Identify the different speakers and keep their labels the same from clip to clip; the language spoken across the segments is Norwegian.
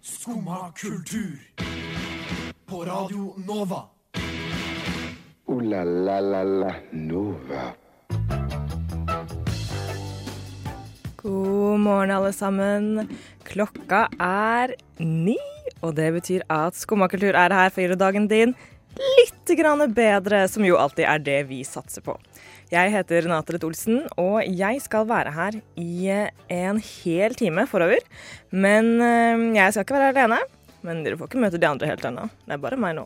Speaker 1: Skumma kultur. På Radio Nova.
Speaker 2: Ooh la la la la Nova.
Speaker 3: God morgen, alle sammen. Klokka er ni, og det betyr at Skummakultur er her for å gjøre dagen din litt grann bedre, som jo alltid er det vi satser på. Jeg heter Renate Lett Olsen, og jeg skal være her i eh, en hel time forover. Men eh, jeg skal ikke være her alene. Men dere får ikke møte de andre helt ennå. Det er bare meg nå.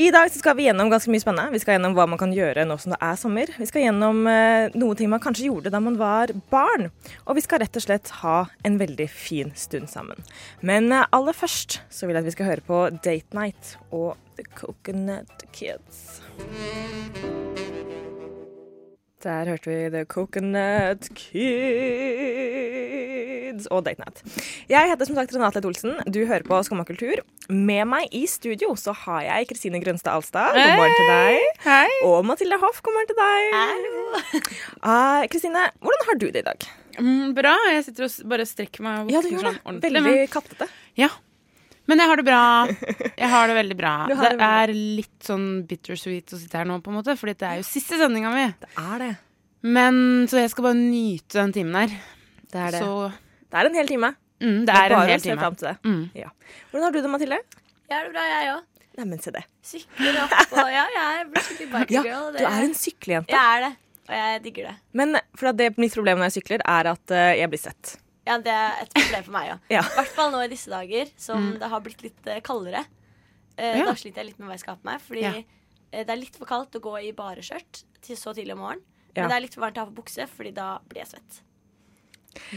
Speaker 3: I dag så skal vi gjennom ganske mye spennende. Vi skal gjennom hva man kan gjøre nå som det er sommer. Vi skal gjennom eh, noen ting man kanskje gjorde da man var barn. Og vi skal rett og slett ha en veldig fin stund sammen. Men eh, aller først så vil jeg at vi skal høre på Date Night og The Coconut Kids. Der hørte vi The Coconut Kids og Date Night. Jeg heter som sagt Renate Lett Olsen. Du hører på Skumma kultur. Med meg i studio så har jeg Kristine Grønstad Alstad. God morgen til deg.
Speaker 4: Hei.
Speaker 3: Og Mathilde Hoff, god morgen til deg. Ah, Kristine, hvordan har du det i dag?
Speaker 4: Mm, bra. Jeg sitter og s- bare strekker meg. og
Speaker 3: Ja, du
Speaker 4: våkner
Speaker 3: gjør
Speaker 4: sånn
Speaker 3: det.
Speaker 4: ordentlig,
Speaker 3: Veldig kattete.
Speaker 4: Men, ja. men jeg har det bra. Jeg har det veldig bra.
Speaker 3: Du har
Speaker 4: det
Speaker 3: det veldig
Speaker 4: er litt sånn bittersweet å sitte her nå, på en måte, Fordi det er jo siste sendinga mi.
Speaker 3: Er det.
Speaker 4: Men Så jeg skal bare nyte den timen her.
Speaker 3: Det er det.
Speaker 4: Så
Speaker 3: det er en hel time.
Speaker 4: mm, det er en
Speaker 3: Bare
Speaker 4: hel
Speaker 3: å se
Speaker 4: time.
Speaker 3: fram til det.
Speaker 4: Mm.
Speaker 3: Ja. Hvordan har du det, Mathilde?
Speaker 5: Jeg har det bra, jeg òg.
Speaker 3: Neimen, se det.
Speaker 5: Sykler opp og Ja, jeg er blitt skikkelig
Speaker 3: Ja,
Speaker 5: bikegirl.
Speaker 3: du er en syklejente.
Speaker 5: Jeg er det, og jeg digger det.
Speaker 3: Men for at det mitt problem når jeg sykler, er at eh, jeg blir sett.
Speaker 5: Ja, Det er et problem for meg òg.
Speaker 3: Ja. Mm.
Speaker 5: I hvert fall nå i disse dager som det har blitt litt eh, kaldere. Eh,
Speaker 4: Ja.
Speaker 5: Da sliter jeg litt med hva jeg skal ha på meg, fordi
Speaker 4: Ja.
Speaker 5: eh, det er litt for kaldt å gå i bare skjørt til så tidlig om morgenen.
Speaker 3: Ja.
Speaker 5: Men det er litt for varmt å ha på bukse, fordi da blir jeg svett.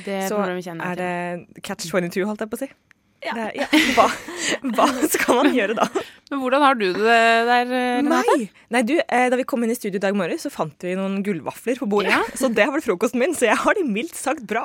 Speaker 4: Det
Speaker 3: Så
Speaker 4: problemet kjenner
Speaker 3: er
Speaker 4: jeg til.
Speaker 3: det catch 22, holdt jeg på å si.
Speaker 5: Ja.
Speaker 3: Det er, ja. Hva, hva skal man gjøre da?
Speaker 4: Men hvordan har du det der, Renate?
Speaker 3: Nei! Nei, du, eh, da vi kom inn i studio i dag morges, så fant vi noen gullvafler på bordet. Så det har vært frokosten min, så jeg har det mildt sagt bra.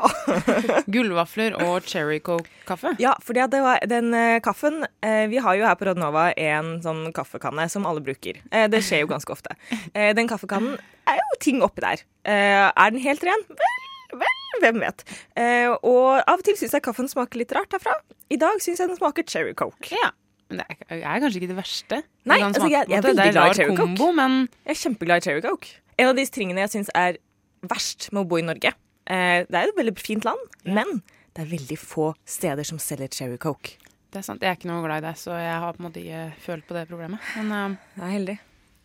Speaker 4: Gullvafler og cherry coke-kaffe?
Speaker 3: Ja, fordi at det var den eh, kaffen eh, Vi har jo her på Radnova en sånn kaffekanne som alle bruker. Eh, det skjer jo ganske ofte. Eh, den kaffekannen er jo ting oppi der. Eh, er den helt ren? Vel, vel, hvem vet. Eh, og av og til syns jeg kaffen smaker litt rart herfra. I dag syns jeg den smaker cherry coke.
Speaker 4: Ja. Men det er, er kanskje ikke det verste.
Speaker 3: Nei,
Speaker 4: Det kan
Speaker 3: altså,
Speaker 4: smake
Speaker 3: jeg-
Speaker 4: på en
Speaker 3: jeg er
Speaker 4: måte.
Speaker 3: veldig
Speaker 4: det er
Speaker 3: glad i
Speaker 4: rar
Speaker 3: cherry coke.
Speaker 4: kombo, men
Speaker 3: Jeg er kjempeglad i cherry coke. En av de tingene jeg syns er verst med å bo i Norge eh, Det er jo et veldig fint land, men det er veldig få steder som selger cherry coke.
Speaker 4: Det er sant. Jeg er ikke noe glad i deg, så jeg har på en måte ikke følt på det problemet. Men eh,
Speaker 3: Jeg er heldig.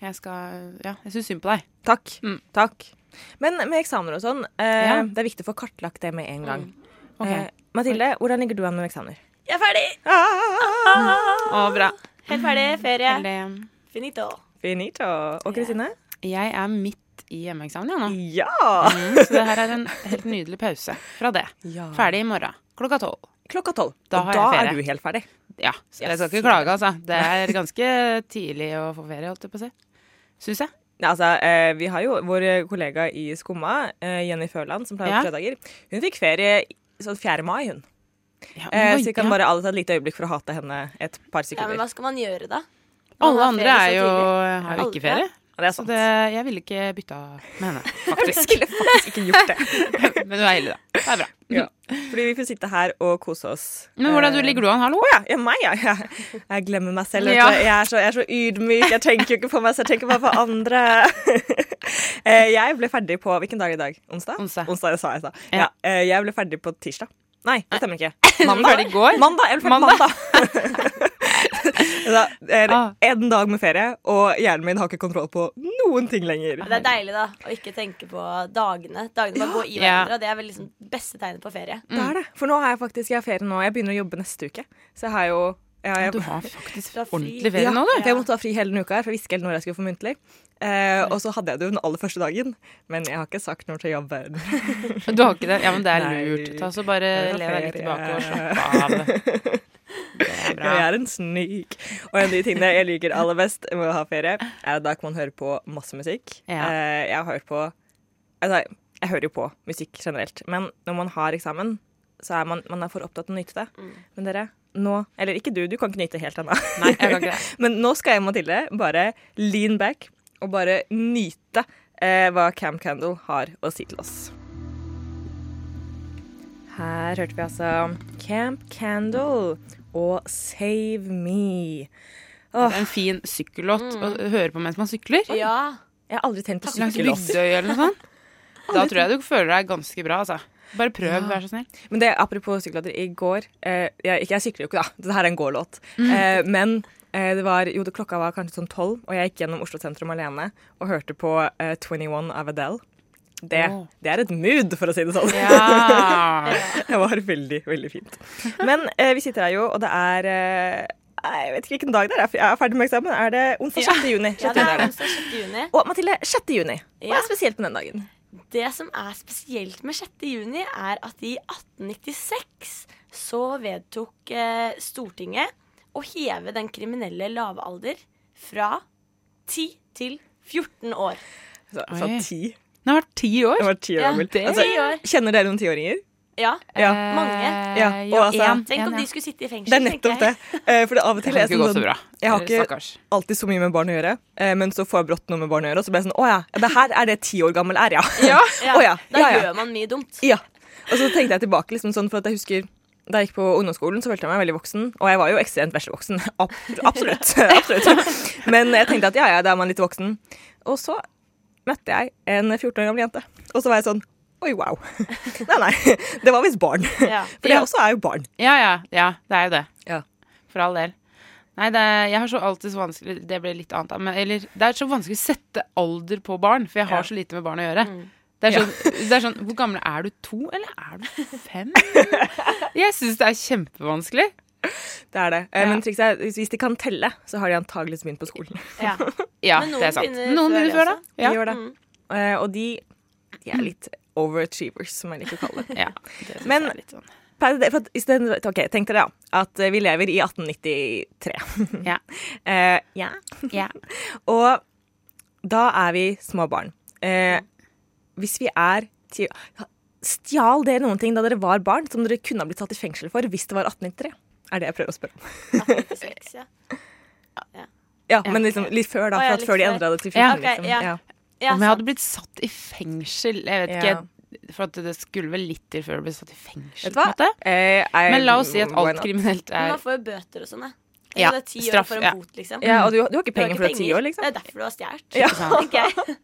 Speaker 4: jeg skal Ja, jeg syns synd på deg.
Speaker 3: Takk.
Speaker 4: Mm.
Speaker 3: Takk. Men med eksamener og sånn, eh,
Speaker 4: Ja. Mm.
Speaker 3: det er viktig å få kartlagt det med en gang.
Speaker 4: Ok.
Speaker 3: Eh, Mathilde, hvordan ligger du an med eksamener?
Speaker 5: Jeg er ferdig!
Speaker 4: Ah! Å, bra.
Speaker 5: Helt ferdig. Ferie.
Speaker 4: Eller, eh,
Speaker 5: Finito.
Speaker 3: Finito. Og Kristine?
Speaker 4: Jeg er midt i hjemmeeksamen, jeg nå.
Speaker 3: Ja!
Speaker 4: Mm, så det her er en helt nydelig pause fra det.
Speaker 3: Ja.
Speaker 4: Ferdig i morgen klokka tolv.
Speaker 3: Klokka tolv.
Speaker 4: Da
Speaker 3: og
Speaker 4: har
Speaker 3: da
Speaker 4: jeg
Speaker 3: er
Speaker 4: ferie.
Speaker 3: du helt ferdig.
Speaker 4: Ja, så jeg skal
Speaker 3: Yes.
Speaker 4: ikke klage, altså. Det er ganske tidlig å få ferie, holdt jeg på å si. Syns jeg.
Speaker 3: Nei, altså, eh, vi har jo vår eh, kollega i Skumma, eh, Jenny Førland, som pleier å ha
Speaker 4: Ja.
Speaker 3: fredager. Hun fikk ferie i- sånn 4. mai, hun.
Speaker 4: Ja,
Speaker 3: Eh,
Speaker 4: oi,
Speaker 3: så vi kan
Speaker 4: ja.
Speaker 3: bare alle ta et lite øyeblikk for å hate henne et par
Speaker 5: Ja, men
Speaker 3: sekunder.
Speaker 5: hva skal man gjøre, da? Man
Speaker 4: Alle
Speaker 5: har
Speaker 4: andre
Speaker 5: ferie
Speaker 4: er
Speaker 5: så
Speaker 4: jo,
Speaker 5: tidlig.
Speaker 4: har jo ikke ferie.
Speaker 3: Ja, det er
Speaker 4: Så
Speaker 3: sant.
Speaker 4: det, jeg ville ikke bytta med henne,
Speaker 3: Jeg
Speaker 4: faktisk.
Speaker 3: skulle faktisk ikke gjort det.
Speaker 4: Men du er heldig, da. Det er bra.
Speaker 3: Ja. Fordi vi får sitte her og kose oss.
Speaker 4: Men hvordan
Speaker 3: Eh,
Speaker 4: du ligger du an? Hallo?
Speaker 3: Å ja, ja, meg, ja. Jeg, jeg glemmer meg selv. vet
Speaker 4: Ja.
Speaker 3: du. Jeg, er så, jeg er så ydmyk. Jeg tenker jo ikke på meg selv, jeg tenker bare på andre. Eh, jeg ble ferdig på Hvilken dag i dag? Onsdag?
Speaker 4: Onsdag.
Speaker 3: det sa jeg i stad.
Speaker 4: Ja.
Speaker 3: Ja. eh, Jeg ble ferdig på tirsdag. Nei, det stemmer ikke.
Speaker 4: ferdig i går?
Speaker 3: Mandag. Jeg ble ferdig mandag. da, er
Speaker 4: Ah.
Speaker 3: en dag med ferie, og hjernen min har ikke kontroll på noen ting lenger.
Speaker 5: Det er deilig da, å ikke tenke på dagene. Dagene bare gå i
Speaker 4: Ja.
Speaker 5: hverandre. og Det er vel liksom beste tegnet på ferie.
Speaker 3: Det er det.
Speaker 4: Mm.
Speaker 3: For nå har jeg faktisk jeg har ferie nå. Jeg begynner å jobbe neste uke. Så jeg har jo jeg, jeg,
Speaker 4: Du har faktisk
Speaker 5: Du har fri.
Speaker 4: ordentlig ferie nå, du.
Speaker 3: for jeg måtte ha fri hele denne uka, her, for jeg visste ikke helt når jeg skulle få muntlig. Eh, og så hadde jeg det jo den aller første dagen, men jeg har ikke sagt når til jobb.
Speaker 4: Du har ikke det? Ja, men det er
Speaker 3: Nei.
Speaker 4: lurt. Ta så bare
Speaker 3: Jeg vil ha
Speaker 4: le deg
Speaker 3: ferie.
Speaker 4: litt tilbake og slappe av. Det er bra.
Speaker 3: Jeg er en snik. Og en av de tingene jeg liker aller best med å ha ferie, er at da kan man høre på masse musikk.
Speaker 4: Ja.
Speaker 3: Eh, jeg har hørt på Altså, jeg hører jo på musikk generelt, men når man har eksamen, så er man, man er for opptatt av å nyte det.
Speaker 4: Mm.
Speaker 3: Men dere, nå Eller ikke du, du kan ikke nyte helt ennå.
Speaker 4: Nei, jeg kan ikke det.
Speaker 3: Men nå skal jeg og Mathilde bare lean back og bare nyte eh, hva Cam Candle har å si til oss. Her hørte vi altså Camp Candle og Save Me.
Speaker 4: Det er en fin sykkellåt
Speaker 3: Mm.
Speaker 4: å høre på mens man sykler.
Speaker 5: Ja.
Speaker 3: Jeg har aldri tenkt på
Speaker 4: Langs
Speaker 3: sykkellås.
Speaker 4: Bygdøy eller noe sånt. Da tror jeg du føler deg ganske bra, altså. Bare prøv, vær så snill.
Speaker 3: Men det, apropos sykkelåter, i går eh, jeg, jeg sykler jo ikke, da. Dette her er en gålåt.
Speaker 4: Mm.
Speaker 3: Eh, men eh, det var, jo, det klokka var kanskje sånn tolv, og jeg gikk gjennom Oslo sentrum alene og hørte på eh, 21 av Adele. Det,
Speaker 4: Åh.
Speaker 3: det er et mood, for å si det sånn.
Speaker 4: Ja.
Speaker 3: Det var veldig, veldig fint. Men eh, vi sitter her jo, og det er eh, nei, Jeg vet ikke hvilken dag det er, for jeg er ferdig med eksamen. Er det onsdag 6. juni? 6.
Speaker 5: ja,
Speaker 3: juni
Speaker 5: det
Speaker 3: er
Speaker 5: er
Speaker 3: det.
Speaker 5: onsdag 6. juni.
Speaker 3: Og Mathilde, 6. juni. Hva
Speaker 5: Ja.
Speaker 3: er spesielt med den dagen?
Speaker 5: Det som er spesielt med 6. juni, er at i 1896 så vedtok eh, Stortinget å heve den kriminelle lave alder fra 10 til 14 år.
Speaker 3: Så, så
Speaker 4: Oi.
Speaker 3: ti.
Speaker 4: Den har vært ti år.
Speaker 3: Jeg var ti år
Speaker 5: Ja,
Speaker 3: gammel. Altså,
Speaker 4: det-
Speaker 5: år.
Speaker 3: kjenner dere noen tiåringer?
Speaker 5: Ja.
Speaker 3: Ja.
Speaker 5: mange.
Speaker 3: Ja, og altså-
Speaker 4: en,
Speaker 5: Tenk om
Speaker 4: en, ja.
Speaker 5: de skulle sitte i fengsel.
Speaker 3: Det er nettopp
Speaker 5: tenker
Speaker 3: det.
Speaker 5: jeg.
Speaker 3: Eh, For det av og
Speaker 4: Det
Speaker 3: til
Speaker 4: kan
Speaker 3: er
Speaker 4: ikke gå så
Speaker 3: sånn-
Speaker 4: bra.
Speaker 3: Jeg har ikke
Speaker 4: Stakkars.
Speaker 3: alltid så mye med barn å gjøre, eh, men så får jeg brått noe med barn å gjøre, og så blir jeg sånn Å ja, det her er det ti år gammel er, ja.
Speaker 5: Ja,
Speaker 3: Å ja.
Speaker 5: Da
Speaker 3: ja, ja.
Speaker 5: gjør man mye dumt.
Speaker 3: ja. Og så tenkte jeg tilbake, liksom sånn, for at jeg husker da jeg gikk på ungdomsskolen, så følte jeg meg veldig voksen. Og jeg var jo ekstremt vesle voksen. Ab absolutt. absolutt. Men jeg tenkte at ja, ja, da er man litt voksen. Og så møtte jeg en 14 år gammel jente, og så var jeg sånn Oi, wow. Nei, nei. Det var visst barn.
Speaker 5: Ja.
Speaker 3: For det også er jo barn.
Speaker 4: Ja, ja, ja, det er jo det.
Speaker 3: Ja.
Speaker 4: For all del. Nei, det er, jeg har så alltid så vanskelig Det ble litt annet, da, men eller Det er så vanskelig å sette alder på barn, for jeg har
Speaker 3: Ja.
Speaker 4: så lite med barn å gjøre. Det er, sånn, det er sånn Hvor gamle er du? To, eller er du fem? Jeg syns det er kjempevanskelig.
Speaker 3: Det er det. Eh,
Speaker 4: Ja.
Speaker 3: Men trikset er, hvis- hvis de kan telle, så har de antageligvis begynt på skolen.
Speaker 5: Ja. Mm.
Speaker 4: Ja,
Speaker 5: Men noen
Speaker 4: det er sant.
Speaker 5: begynner
Speaker 4: Noen
Speaker 5: før
Speaker 4: begynner
Speaker 5: det
Speaker 4: før, da.
Speaker 5: også.
Speaker 3: De
Speaker 4: Ja. Mm.
Speaker 3: gjør det. Eh, og de, de er litt overachievers, som jeg liker å kalle det.
Speaker 4: Ja, det synes
Speaker 3: Men-
Speaker 4: jeg er litt sånn.
Speaker 3: Per- det- For at, i stedet- ok, Tenk dere da, at eh, vi lever i 1893.
Speaker 4: Ja.
Speaker 3: Eh, og da er vi små barn. Eh, hvis vi er ti Stjal dere noen ting da dere var barn som dere kunne ha blitt satt i fengsel for hvis det var 1893? Er det jeg prøver å spørre om.
Speaker 5: Sex, ja.
Speaker 3: Ja, Men liksom litt før, da.
Speaker 5: Å,
Speaker 3: For
Speaker 5: ja,
Speaker 3: at
Speaker 5: litt
Speaker 3: før de
Speaker 5: før.
Speaker 3: endra det til 14.
Speaker 4: Ja.
Speaker 5: Ok,
Speaker 3: liksom.
Speaker 5: ja.
Speaker 3: Ja.
Speaker 5: Ja,
Speaker 4: Om jeg
Speaker 5: sant.
Speaker 4: hadde blitt satt i fengsel Jeg vet
Speaker 3: Ja.
Speaker 4: ikke. For at det skulle vel litt til før du ble satt i fengsel.
Speaker 3: Vet du hva?
Speaker 4: på en måte.
Speaker 3: Eh, jeg-
Speaker 4: Men la oss si at
Speaker 3: why
Speaker 4: alt
Speaker 3: not?
Speaker 4: kriminelt
Speaker 5: Men
Speaker 4: er
Speaker 5: man får jo bøter og sånn, da. Så
Speaker 4: Ja,
Speaker 5: det er ti år
Speaker 4: straff,
Speaker 5: for
Speaker 4: ja.
Speaker 5: en bot, liksom.
Speaker 3: ja, Og du, du har ikke
Speaker 5: Du har
Speaker 3: penger
Speaker 5: ikke
Speaker 3: for det ti
Speaker 5: penger.
Speaker 3: år, liksom?
Speaker 5: Det er derfor du har stjålet.
Speaker 3: Ja.
Speaker 5: tenker jeg.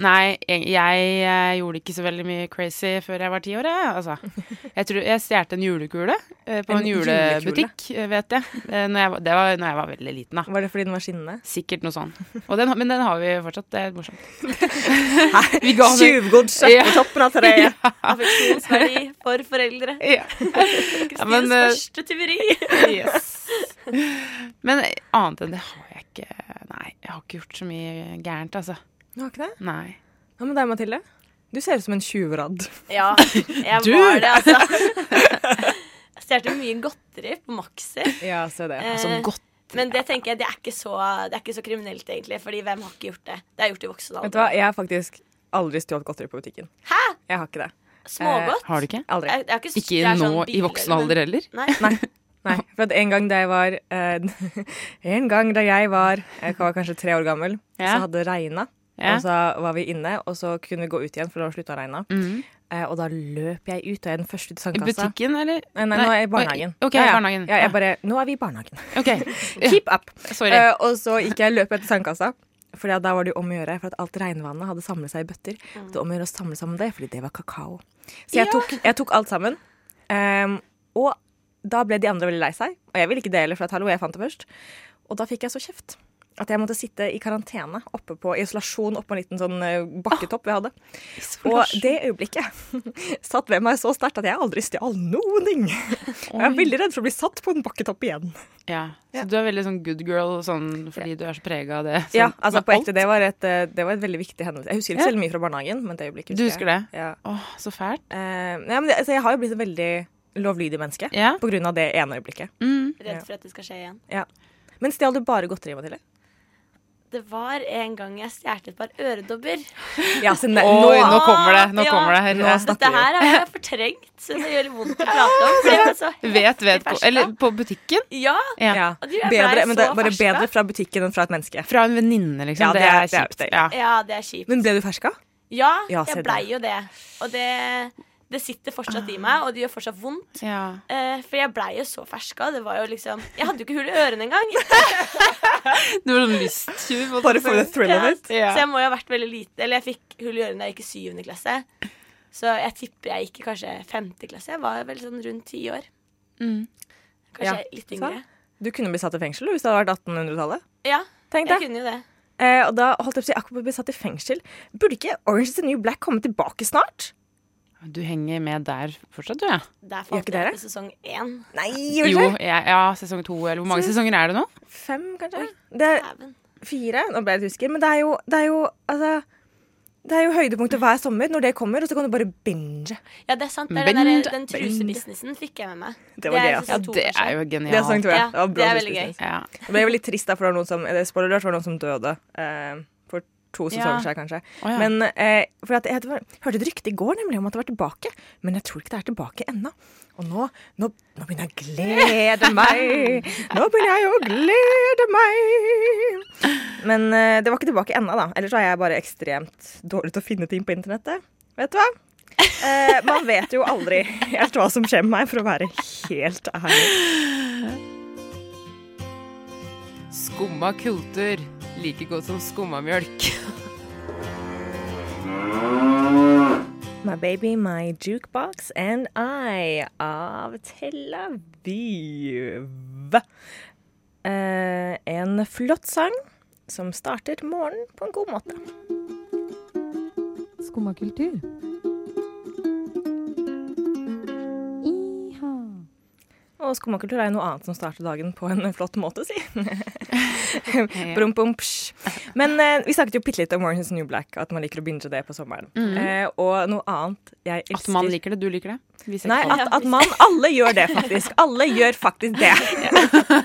Speaker 4: Nei, jeg, jeg, eh, gjorde ikke så veldig mye crazy før jeg var ti år. Jeg, altså. jeg, tror jeg stjal en julekule eh, på
Speaker 3: En
Speaker 4: en, julebutikk, eh, vet jeg. Eh, Når jeg. var- Det var når jeg var veldig liten, da.
Speaker 3: Var det fordi den var skinnende?
Speaker 4: Sikkert noe sånn. Og den, har- men den har vi fortsatt. Det er morsomt. Vi ga den-
Speaker 3: Tjuvgodset
Speaker 4: Ja.
Speaker 3: på toppen av treet.
Speaker 5: Affeksjonsverdi for foreldre.
Speaker 4: Ja. Ja, men,
Speaker 5: Kristines
Speaker 4: eh,
Speaker 5: første tyveri.
Speaker 4: Yes. Men annet enn det har jeg ikke Nei, jeg har ikke gjort så mye gærent, altså.
Speaker 3: Du har ikke det?
Speaker 4: Nei.
Speaker 3: Hva med deg, Mathilde? Du ser ut som en tjuvradd.
Speaker 5: Ja, jeg
Speaker 4: Du!
Speaker 5: var det, altså. Jeg stjal mye godteri på Maxi.
Speaker 3: Ja, se det.
Speaker 4: Altså
Speaker 5: Eh,
Speaker 4: godt
Speaker 5: Men det tenker jeg, det er ikke så, det er ikke så kriminelt, egentlig. Fordi hvem har ikke gjort det? Det er gjort i voksen
Speaker 3: Vet du hva,
Speaker 5: alder.
Speaker 3: jeg har faktisk aldri stjålet godteri på butikken.
Speaker 5: Hæ? Eh.
Speaker 3: Jeg har ikke det.
Speaker 5: Smågodt?
Speaker 4: Har du ikke?
Speaker 3: Aldri.
Speaker 5: Jeg- jeg har ikke-
Speaker 4: Ikke
Speaker 5: jeg er
Speaker 4: nå
Speaker 5: sånn
Speaker 4: i voksen
Speaker 5: bilder,
Speaker 4: alder
Speaker 5: men-
Speaker 4: heller?
Speaker 5: Nei.
Speaker 3: Nei. Nei, for at en gang da jeg var eh, En gang da jeg var eh, Jeg var kanskje tre år gammel,
Speaker 4: Ja.
Speaker 3: så hadde det regna.
Speaker 4: Ja.
Speaker 3: Og så var vi inne, og så kunne vi gå ut igjen, for det var slutta å regne. Eh, og da løp jeg ut, og jeg er den første ut i
Speaker 4: I
Speaker 3: sandkassa.
Speaker 4: butikken, eller?
Speaker 3: altså. Nei, nei, nå er jeg i barnehagen.
Speaker 4: Ok,
Speaker 3: ja, ja.
Speaker 4: barnehagen.
Speaker 3: Ja, jeg bare, nå er vi i barnehagen.
Speaker 4: Ok. Ja,
Speaker 3: Keep up!
Speaker 4: sorry.
Speaker 3: Eh, og så gikk jeg løp etter sandkassa. For da var det jo om å gjøre, for at alt regnvannet hadde samlet seg i bøtter. Det var om å gjøre å samle sammen det, fordi det var kakao. Så jeg, tok, jeg tok alt sammen. ehm, og da ble de andre veldig lei seg. Og jeg ville ikke dele, for at hallo, jeg fant det først. Og da fikk jeg så kjeft. At jeg måtte sitte i karantene oppe på i isolasjon oppå en liten sånn eh, bakketopp vi hadde. Og det øyeblikket satt ved meg så sterkt at jeg aldri stjal noen ting. Og jeg er veldig redd for å bli satt på en bakketopp igjen.
Speaker 4: Ja, så du er veldig sånn good girl sånn, fordi du er så prega av det. Sånn,
Speaker 3: Ja, altså
Speaker 4: med
Speaker 3: på
Speaker 4: alt.
Speaker 3: ekte, det var, et, eh, det var et veldig viktig hendelse. Jeg husker ikke
Speaker 4: Ja.
Speaker 3: så veldig mye fra barnehagen, men det øyeblikket
Speaker 4: Du husker det?
Speaker 3: jeg. Ja.
Speaker 4: Åh, så fælt.
Speaker 3: Eh, nei, men det, altså, jeg har jo blitt et veldig lovlydig menneske
Speaker 4: Ja. Mm.
Speaker 3: på grunn av det ene øyeblikket.
Speaker 5: Redd for at det skal skje igjen.
Speaker 3: Ja. Men stjal du bare godteri, Mathilde?
Speaker 5: Det var en gang jeg stjal et par øredobber.
Speaker 3: Ja, så ne-
Speaker 4: Oi, nå kommer det. Nå
Speaker 5: Ja.
Speaker 4: kommer det.
Speaker 3: Nå snakker
Speaker 4: Herre.
Speaker 5: Altså, Dette her har jeg fortrengt, så det gjør vondt å prate om. For jeg er så
Speaker 4: Vet, vet.
Speaker 5: fersk,
Speaker 4: På,
Speaker 5: da.
Speaker 4: eller på butikken?
Speaker 5: Ja.
Speaker 4: Ja.
Speaker 3: ja.
Speaker 5: Og du, jeg
Speaker 3: bedre,
Speaker 5: blei
Speaker 3: men det
Speaker 5: så
Speaker 3: er bare
Speaker 5: ferska.
Speaker 3: bedre fra butikken enn fra et menneske.
Speaker 4: Fra en venninne, liksom.
Speaker 3: Ja,
Speaker 4: det,
Speaker 3: det er-
Speaker 4: er
Speaker 3: det er
Speaker 4: kjipt.
Speaker 3: det.
Speaker 4: Ja.
Speaker 5: ja, det er kjipt.
Speaker 3: Men ble du ferska?
Speaker 5: Ja,
Speaker 3: Ja, se
Speaker 5: jeg
Speaker 3: det.
Speaker 5: blei jo det. Og det Det sitter fortsatt i meg, og det gjør fortsatt vondt.
Speaker 4: Ja.
Speaker 5: Eh, for jeg blei jo så ferska. Det var jo liksom Jeg hadde jo ikke hull i ørene engang.
Speaker 4: Du var sånn lysttyv.
Speaker 3: Bare for the thrill of it.
Speaker 4: Ja.
Speaker 5: Så jeg må jo ha vært veldig lite Eller jeg fikk hull i ørene da jeg gikk i syvende klasse. Så jeg tipper jeg gikk i kanskje femte klasse. Jeg var vel sånn rundt ti år.
Speaker 4: Mm.
Speaker 5: Kanskje
Speaker 3: Ja,
Speaker 5: litt yngre.
Speaker 3: sant. Du kunne blitt satt i fengsel hvis det hadde vært 1800-tallet.
Speaker 5: Ja,
Speaker 3: Tenk
Speaker 5: jeg
Speaker 3: det.
Speaker 5: kunne jo det.
Speaker 3: Eh, og da holdt jeg på å si akkurat blitt satt i fengsel. Burde ikke Orange is the New Black komme tilbake snart?
Speaker 4: Du henger med der fortsatt, du, ja.
Speaker 5: Der
Speaker 3: Gjør
Speaker 5: falt
Speaker 3: ikke
Speaker 5: jeg
Speaker 3: dere?
Speaker 5: på sesong én.
Speaker 3: Nei,
Speaker 4: Jo,
Speaker 3: gjorde det?
Speaker 4: jeg, ja, sesong to, eller hvor mange sesonger er det nå?
Speaker 3: Fem, kanskje? Det er
Speaker 5: Dæven.
Speaker 3: fire. Nå ble jeg litt usikker. Men det er jo, det er jo altså det er jo høydepunktet hver sommer når det kommer, og så kan du bare binge.
Speaker 5: Ja, det er sant. Det er den,
Speaker 4: Bend,
Speaker 5: der, den trusebusinessen fikk jeg med meg.
Speaker 3: Det var gøy, ass.
Speaker 4: Ja,
Speaker 5: sesong to,
Speaker 4: det
Speaker 5: kanskje.
Speaker 4: er jo
Speaker 3: Det er sånn,
Speaker 4: genialt.
Speaker 3: tror jeg.
Speaker 5: Ja,
Speaker 3: var bra
Speaker 5: det er veldig
Speaker 3: business.
Speaker 4: Ja.
Speaker 3: Det ble jo litt trist, da, for det var noen som, eller spoiler alert, var det noen som døde eh, for to sesonger
Speaker 4: Ja.
Speaker 3: siden, kanskje.
Speaker 4: Å, ja.
Speaker 3: Men eh, for at jeg, hadde- hørte et rykte i går nemlig om at det var tilbake, men jeg tror ikke det er tilbake ennå. Og nå, nå, nå begynner jeg å glede meg! Nå begynner jeg å glede meg! Men eh, det var ikke tilbake ennå, da. Ellers så er jeg bare ekstremt dårlig til å finne ting på internettet. Vet du hva? Eh, man vet jo aldri helt hva som skjer med meg, for å være helt ærlig.
Speaker 4: Skumma kultur. Like godt som skummamjølk.
Speaker 3: My baby, my jukebox and I av Tel Aviv. Eh, en flott sang som starter morgenen på en god måte.
Speaker 6: Skumma kultur. Iha.
Speaker 3: Og skummakultur er jo noe annet som starter dagen på en flott måte, si. Brum, bum, psj. Men eh, vi snakket jo bitte litt om Orange is the New Black, at man liker å binge det på sommeren. Eh, og noe annet jeg elsker
Speaker 4: Mm. At man liker det, du liker det. Vi ser
Speaker 3: Nei,
Speaker 4: ikke
Speaker 3: at, at man Alle gjør det, faktisk. Alle gjør faktisk det.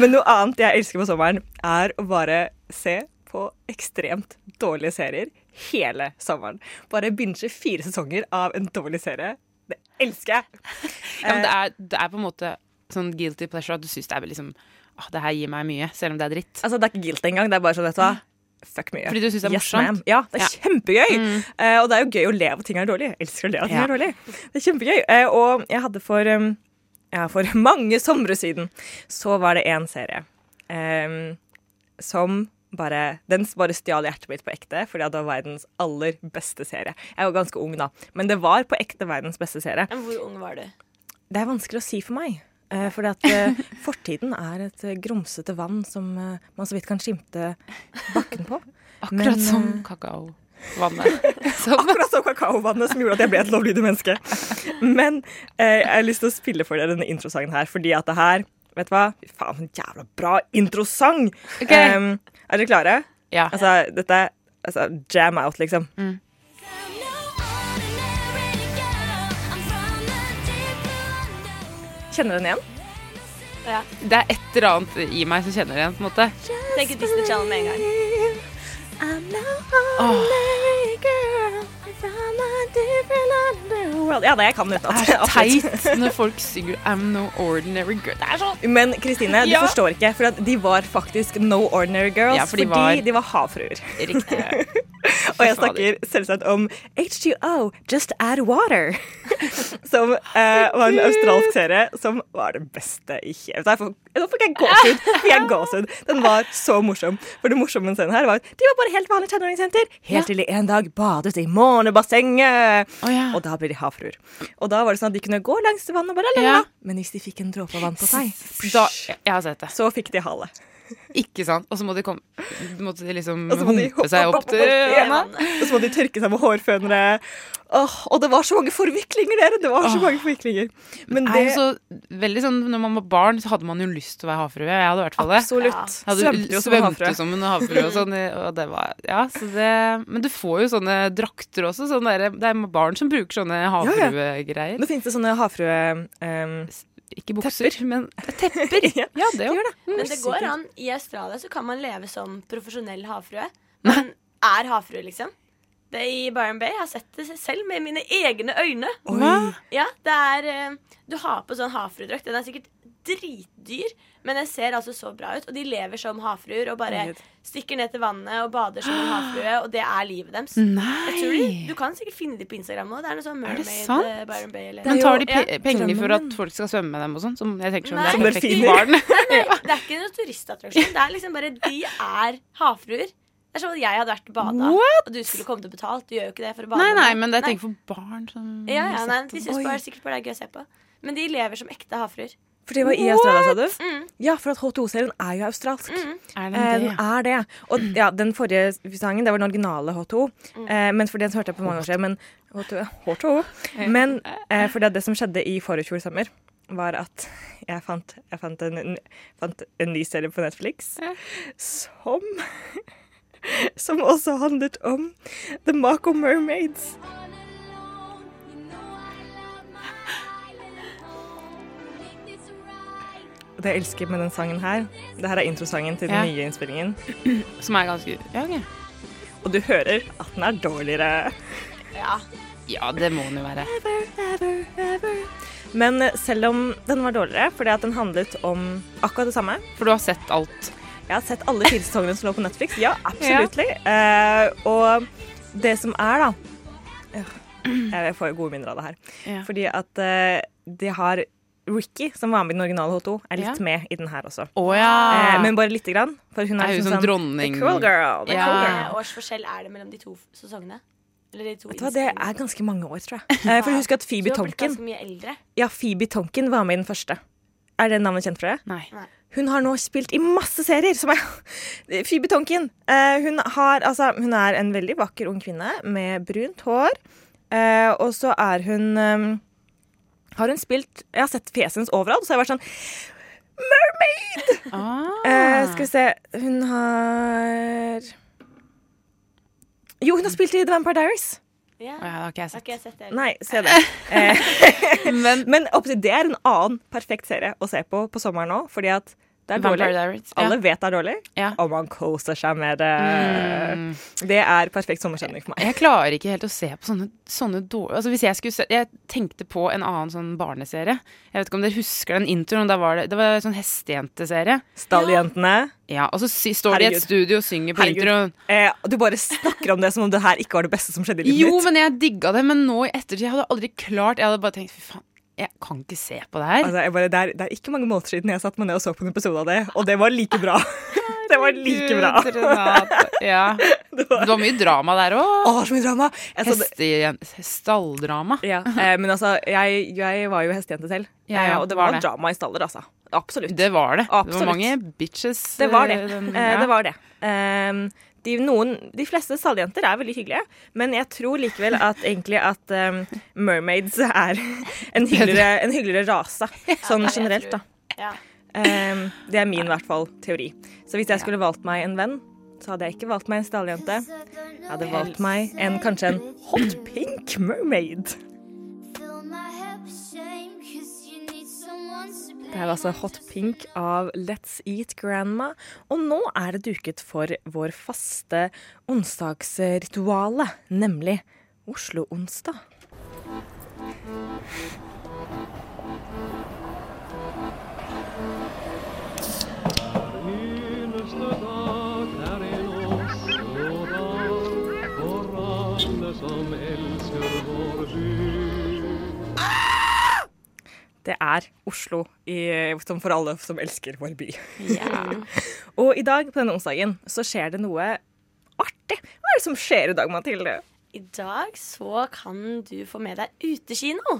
Speaker 3: Men noe annet jeg elsker på sommeren, er å bare se på ekstremt dårlige serier hele sommeren. Bare binge fire sesonger av en dårlig serie. Det elsker jeg.
Speaker 4: sånn. Ja, men det,
Speaker 3: eh,
Speaker 4: er, det er på en måte sånn guilty pleasure at du syns det er liksom Åh, det her gir meg mye, selv om det er dritt.
Speaker 3: Altså, det er ikke guilt engang. Det er bare sånn, vet du hva. Fuck mye.
Speaker 4: Fordi du synes det er
Speaker 3: yes,
Speaker 4: morsomt?
Speaker 3: ma'am. Ja, det er
Speaker 4: Ja. Mm.
Speaker 3: kjempegøy. Eh, og det er jo gøy å le av at ting er dårlig. Jeg elsker å le av at ting
Speaker 4: Ja.
Speaker 3: er dårlig. Det er kjempegøy. Eh, og jeg hadde for, um, ja, for mange somre siden, så var det en serie em, som bare, den bare stjal hjertet mitt på ekte, fordi at det var verdens aller beste serie. Jeg var ganske ung da, men det var på ekte verdens beste serie.
Speaker 5: Men hvor ung var du?
Speaker 3: Det er vanskelig å si for meg. Uh, fordi at eh, fortiden er et eh, grumsete vann som eh, man så vidt kan skimte bakken på.
Speaker 4: Akkurat
Speaker 3: Men,
Speaker 4: som
Speaker 3: eh,
Speaker 4: kakaovannet. Som-
Speaker 3: Akkurat som kakaovannet som gjorde at jeg ble et lovlydig menneske. Men eh, jeg har lyst til å spille for dere denne introsangen her, fordi at det her Vet du hva? Fy faen, for en jævla bra introsang!
Speaker 4: Ok.
Speaker 3: Em, er dere klare?
Speaker 4: Ja. Mm.
Speaker 3: Altså, dette er altså, jam out, liksom. Kjenner dere den igjen?
Speaker 5: Ja.
Speaker 4: Det er et eller annet i meg som kjenner igjen, på en måte.
Speaker 5: Tenk at Disney Channel med en gang.
Speaker 4: Ah.
Speaker 3: Well, ja, nei, jeg kan den
Speaker 4: Det er
Speaker 3: utenat. Absolutt.
Speaker 4: teit når folk synger 'I'm no ordinary girl'. Det er sånn!
Speaker 3: Men Kristine, du
Speaker 4: Ja.
Speaker 3: forstår ikke, for at de var faktisk no ordinary girls
Speaker 4: Ja, for de var-
Speaker 3: fordi de var havfruer.
Speaker 4: Riktig.
Speaker 3: Og jeg snakker selvsagt om H2O, Just Add Water. Som eh, var en australsk serie som var det beste i hele Nå får- nå fikk jeg gåsehud! fikk jeg gåsehud. Den var så morsom. For det morsomme med scenen her var at de var bare helt vanlige tenåringsjenter. Helt til de en dag badet i månebassenget.
Speaker 4: Å ja.
Speaker 3: Og da ble de havfruer. Og da var det sånn at de kunne gå langs vannet, bare, la, la, la.
Speaker 4: Ja.
Speaker 3: men hvis de fikk en dråpe vann på seg,
Speaker 4: Da, jeg har sett det.
Speaker 3: så fikk de hale.
Speaker 4: Ikke sant? Og så må de komme de måtte de liksom
Speaker 3: Og så må de
Speaker 4: humpe seg opp til
Speaker 3: Ja. Og så må de tørke seg med hårfønere. Åh, og det var så mange forviklinger, dere! Det var så mange forviklinger. Men
Speaker 4: er
Speaker 3: det
Speaker 4: jo så veldig sånn, Når man var barn, så hadde man jo lyst til å være havfrue. Jeg hadde i hvert fall det.
Speaker 3: Absolutt.
Speaker 4: Jeg hadde
Speaker 3: Svømte jo som en
Speaker 4: svømte
Speaker 3: havfrue.
Speaker 4: som en havfrue og sånn. Og det var, ja, så det, men du får jo sånne drakter også. Sånn der, det er barn som bruker sånne havfruegreier.
Speaker 3: Nå finnes det sånne havfrue... ehm,
Speaker 4: Ikke bukser, men tepper.
Speaker 3: Ja,
Speaker 4: Ja, det
Speaker 3: gjør
Speaker 4: òg.
Speaker 3: det.
Speaker 5: Men det går an. I Australia så kan man leve som profesjonell havfrue. Men er havfrue, liksom. det i Byron Bay. Jeg har sett det selv med mine egne øyne.
Speaker 4: Hva?
Speaker 5: Ja, det er eh, Du har på sånn havfruedrakt. Den er sikkert dritdyr, men den ser altså så bra ut. Og de lever som havfruer og bare
Speaker 3: Herregud.
Speaker 5: stikker ned til vannet og bader som
Speaker 4: Ah.
Speaker 5: en havfrue, og det er livet deres. Jeg tror de,
Speaker 4: Nei!
Speaker 5: du kan sikkert finne dem på Instagram nå. Det er noe sånn
Speaker 4: Er det
Speaker 5: Mermaid
Speaker 4: sant?
Speaker 5: eh, Byron Bay eller
Speaker 4: Men
Speaker 3: Det er
Speaker 4: tar
Speaker 3: jo-
Speaker 4: de pe
Speaker 3: ja,
Speaker 4: penger for
Speaker 3: drømmen.
Speaker 4: at folk skal svømme med dem og sånn? Som jeg tenker som
Speaker 5: Nei.
Speaker 4: det
Speaker 5: Som
Speaker 4: er perfekt
Speaker 3: delfiner.
Speaker 4: for barn.
Speaker 5: Nei, det er ikke noen turistattraksjon. Det er liksom bare De er havfruer. Det er som om jeg hadde vært og bada,
Speaker 4: What?
Speaker 5: og du skulle kommet og betalt. Du gjør jo ikke det for å bade.
Speaker 4: Nei, nei,
Speaker 5: med.
Speaker 4: men jeg tenker for barn som
Speaker 5: ja, ja, nei, De syns
Speaker 3: Oi.
Speaker 5: bare sikkert bare det er gøy å se på. Men de lever som ekte havfruer.
Speaker 3: For det var i Australia, sa du?
Speaker 5: Mm.
Speaker 3: Ja, for at H2O-serien er jo australsk.
Speaker 4: Er
Speaker 3: Eh,
Speaker 4: den
Speaker 3: den
Speaker 4: det?
Speaker 3: er det. Og ja, den forrige sangen, det var den originale H2O. Eh, men for den så hørte jeg på mange år siden. Men, H2O, H2O. men eh, for det, det som skjedde i forfjor sommer, var at jeg fant, jeg fant, en, en, fant en ny serie på Netflix som Som også handlet om The Mako Mermaids. Og Det jeg elsker med den sangen her, det her er introsangen til den
Speaker 4: Ja.
Speaker 3: nye innspillingen.
Speaker 4: Som er ganske Ja, ok.
Speaker 3: Og du hører at den er dårligere.
Speaker 4: ja det må den jo være.
Speaker 3: Men eh, selv om den var dårligere, fordi at den handlet om akkurat det samme
Speaker 4: For du har sett alt.
Speaker 3: Jeg har sett alle fire sesongene som lå på Netflix. Ja, absolutt. og det som er, da Ja, Jeg får jo gode minner av det her.
Speaker 4: Ja.
Speaker 3: Fordi at eh, de har Ricky, som var med i den originale H2, er litt
Speaker 4: Ja.
Speaker 3: med i den her også.
Speaker 4: Å ja.
Speaker 3: Eh, men bare lite grann. For hun er,
Speaker 4: Er hun
Speaker 3: liksom
Speaker 4: sånn
Speaker 3: sånn
Speaker 4: dronning?
Speaker 3: The cool girl. The
Speaker 4: Ja.
Speaker 3: cool
Speaker 5: Hvor
Speaker 3: girl.
Speaker 5: mange års forskjell er det mellom de to sesongene? Eller de to
Speaker 3: Vet du hva, Det er ganske mange år, tror jeg. Eh, for husk at Phoebe
Speaker 5: Du har blitt
Speaker 3: Tonkin,
Speaker 5: ganske mye eldre.
Speaker 3: ja, Phoebe Tonkin var med i den første. Er det navnet kjent for deg?
Speaker 4: Nei.
Speaker 3: Hun har nå spilt i masse serier. Som er Phoebe Tonkin. Eh, hun, har, altså, hun er en veldig vakker ung kvinne med brunt hår. Eh, og så er hun eh, Har hun spilt Jeg har sett fjeset hennes overalt, så jeg har vært sånn
Speaker 4: Ah.
Speaker 3: eh, Skal vi se Hun har Jo, hun har spilt i The Vampire Diaries.
Speaker 4: Å ja,
Speaker 5: Ja.
Speaker 4: det har ikke jeg
Speaker 5: Har
Speaker 4: sett.
Speaker 5: ikke jeg sett det.
Speaker 3: Nei, se det. Eh,
Speaker 4: Men
Speaker 3: men opptil det er en annen perfekt serie å se på på sommeren nå, fordi at det er
Speaker 4: Vampire
Speaker 3: dårlig.
Speaker 4: Diaries. Ja.
Speaker 3: Alle vet det er dårlig,
Speaker 4: Ja. Mm.
Speaker 3: og man koser seg med det. Det er perfekt sommerstemning for meg.
Speaker 4: Jeg klarer ikke helt å se på sånne, sånne dårlige altså, Hvis jeg skulle se Jeg tenkte på en annen sånn barneserie. Jeg vet ikke om dere husker den introen. Da var det, det var en sånn hestejenteserie.
Speaker 3: Stalljentene.
Speaker 4: Ja, og så sy- står de i
Speaker 3: Herregud.
Speaker 4: et studio og synger på
Speaker 3: Herregud.
Speaker 4: introen.
Speaker 3: Eh, du bare snakker om det som om det her ikke var det beste som skjedde i livet
Speaker 4: Jo,
Speaker 3: ditt.
Speaker 4: men jeg digga det. Men nå i ettertid jeg hadde aldri klart Jeg hadde bare tenkt fy faen, jeg kan ikke se på det her.
Speaker 3: Altså, jeg bare, det, er, det er ikke mange måneder siden jeg satte meg ned og så på en episode av det, og det var like bra. Det var like bra.
Speaker 4: Gud, Renate. Ja.
Speaker 3: Det
Speaker 4: Det
Speaker 3: var,
Speaker 4: var mye drama der òg.
Speaker 3: å, så mye drama! Jeg så det,
Speaker 4: Heste... Stalldrama.
Speaker 3: ja. eh, men altså, jeg, jeg var jo hestejente selv,
Speaker 4: Ja, ja,
Speaker 3: eh, og det
Speaker 4: var
Speaker 3: var,
Speaker 4: det.
Speaker 3: drama i staller, altså. Absolutt.
Speaker 4: Det var det. Det
Speaker 3: Absolutt.
Speaker 4: var mange bitches.
Speaker 3: Det var det.
Speaker 4: eh, den-
Speaker 3: Eh,
Speaker 4: ja.
Speaker 3: det, var det. Ehm, de, noen, de fleste salgjenter er veldig hyggelige, men jeg tror likevel at egentlig at ehm, mermaids er en hyggeligere, en hyggeligere rase, sånn
Speaker 5: det vil jeg
Speaker 3: generelt,
Speaker 5: tro.
Speaker 3: da.
Speaker 5: Ja.
Speaker 3: Ehm, det er min i hvert fall teori. Så hvis jeg skulle valgt meg en venn, så hadde jeg ikke valgt meg en stalljente. Jeg hadde valgt meg en kanskje en hot pink mermaid. Det
Speaker 6: Det
Speaker 3: her var altså Hot Pink av Let's Eat Grandma. Og nå er det duket for vår faste onsdagsrituale, nemlig Oslo-onsdag. Det er Oslo i, som for alle som elsker vår by. Og i dag, på denne onsdagen, så skjer det noe artig. Hva er det som skjer i dag, Mathilde?
Speaker 5: I dag så kan du få med deg utekino.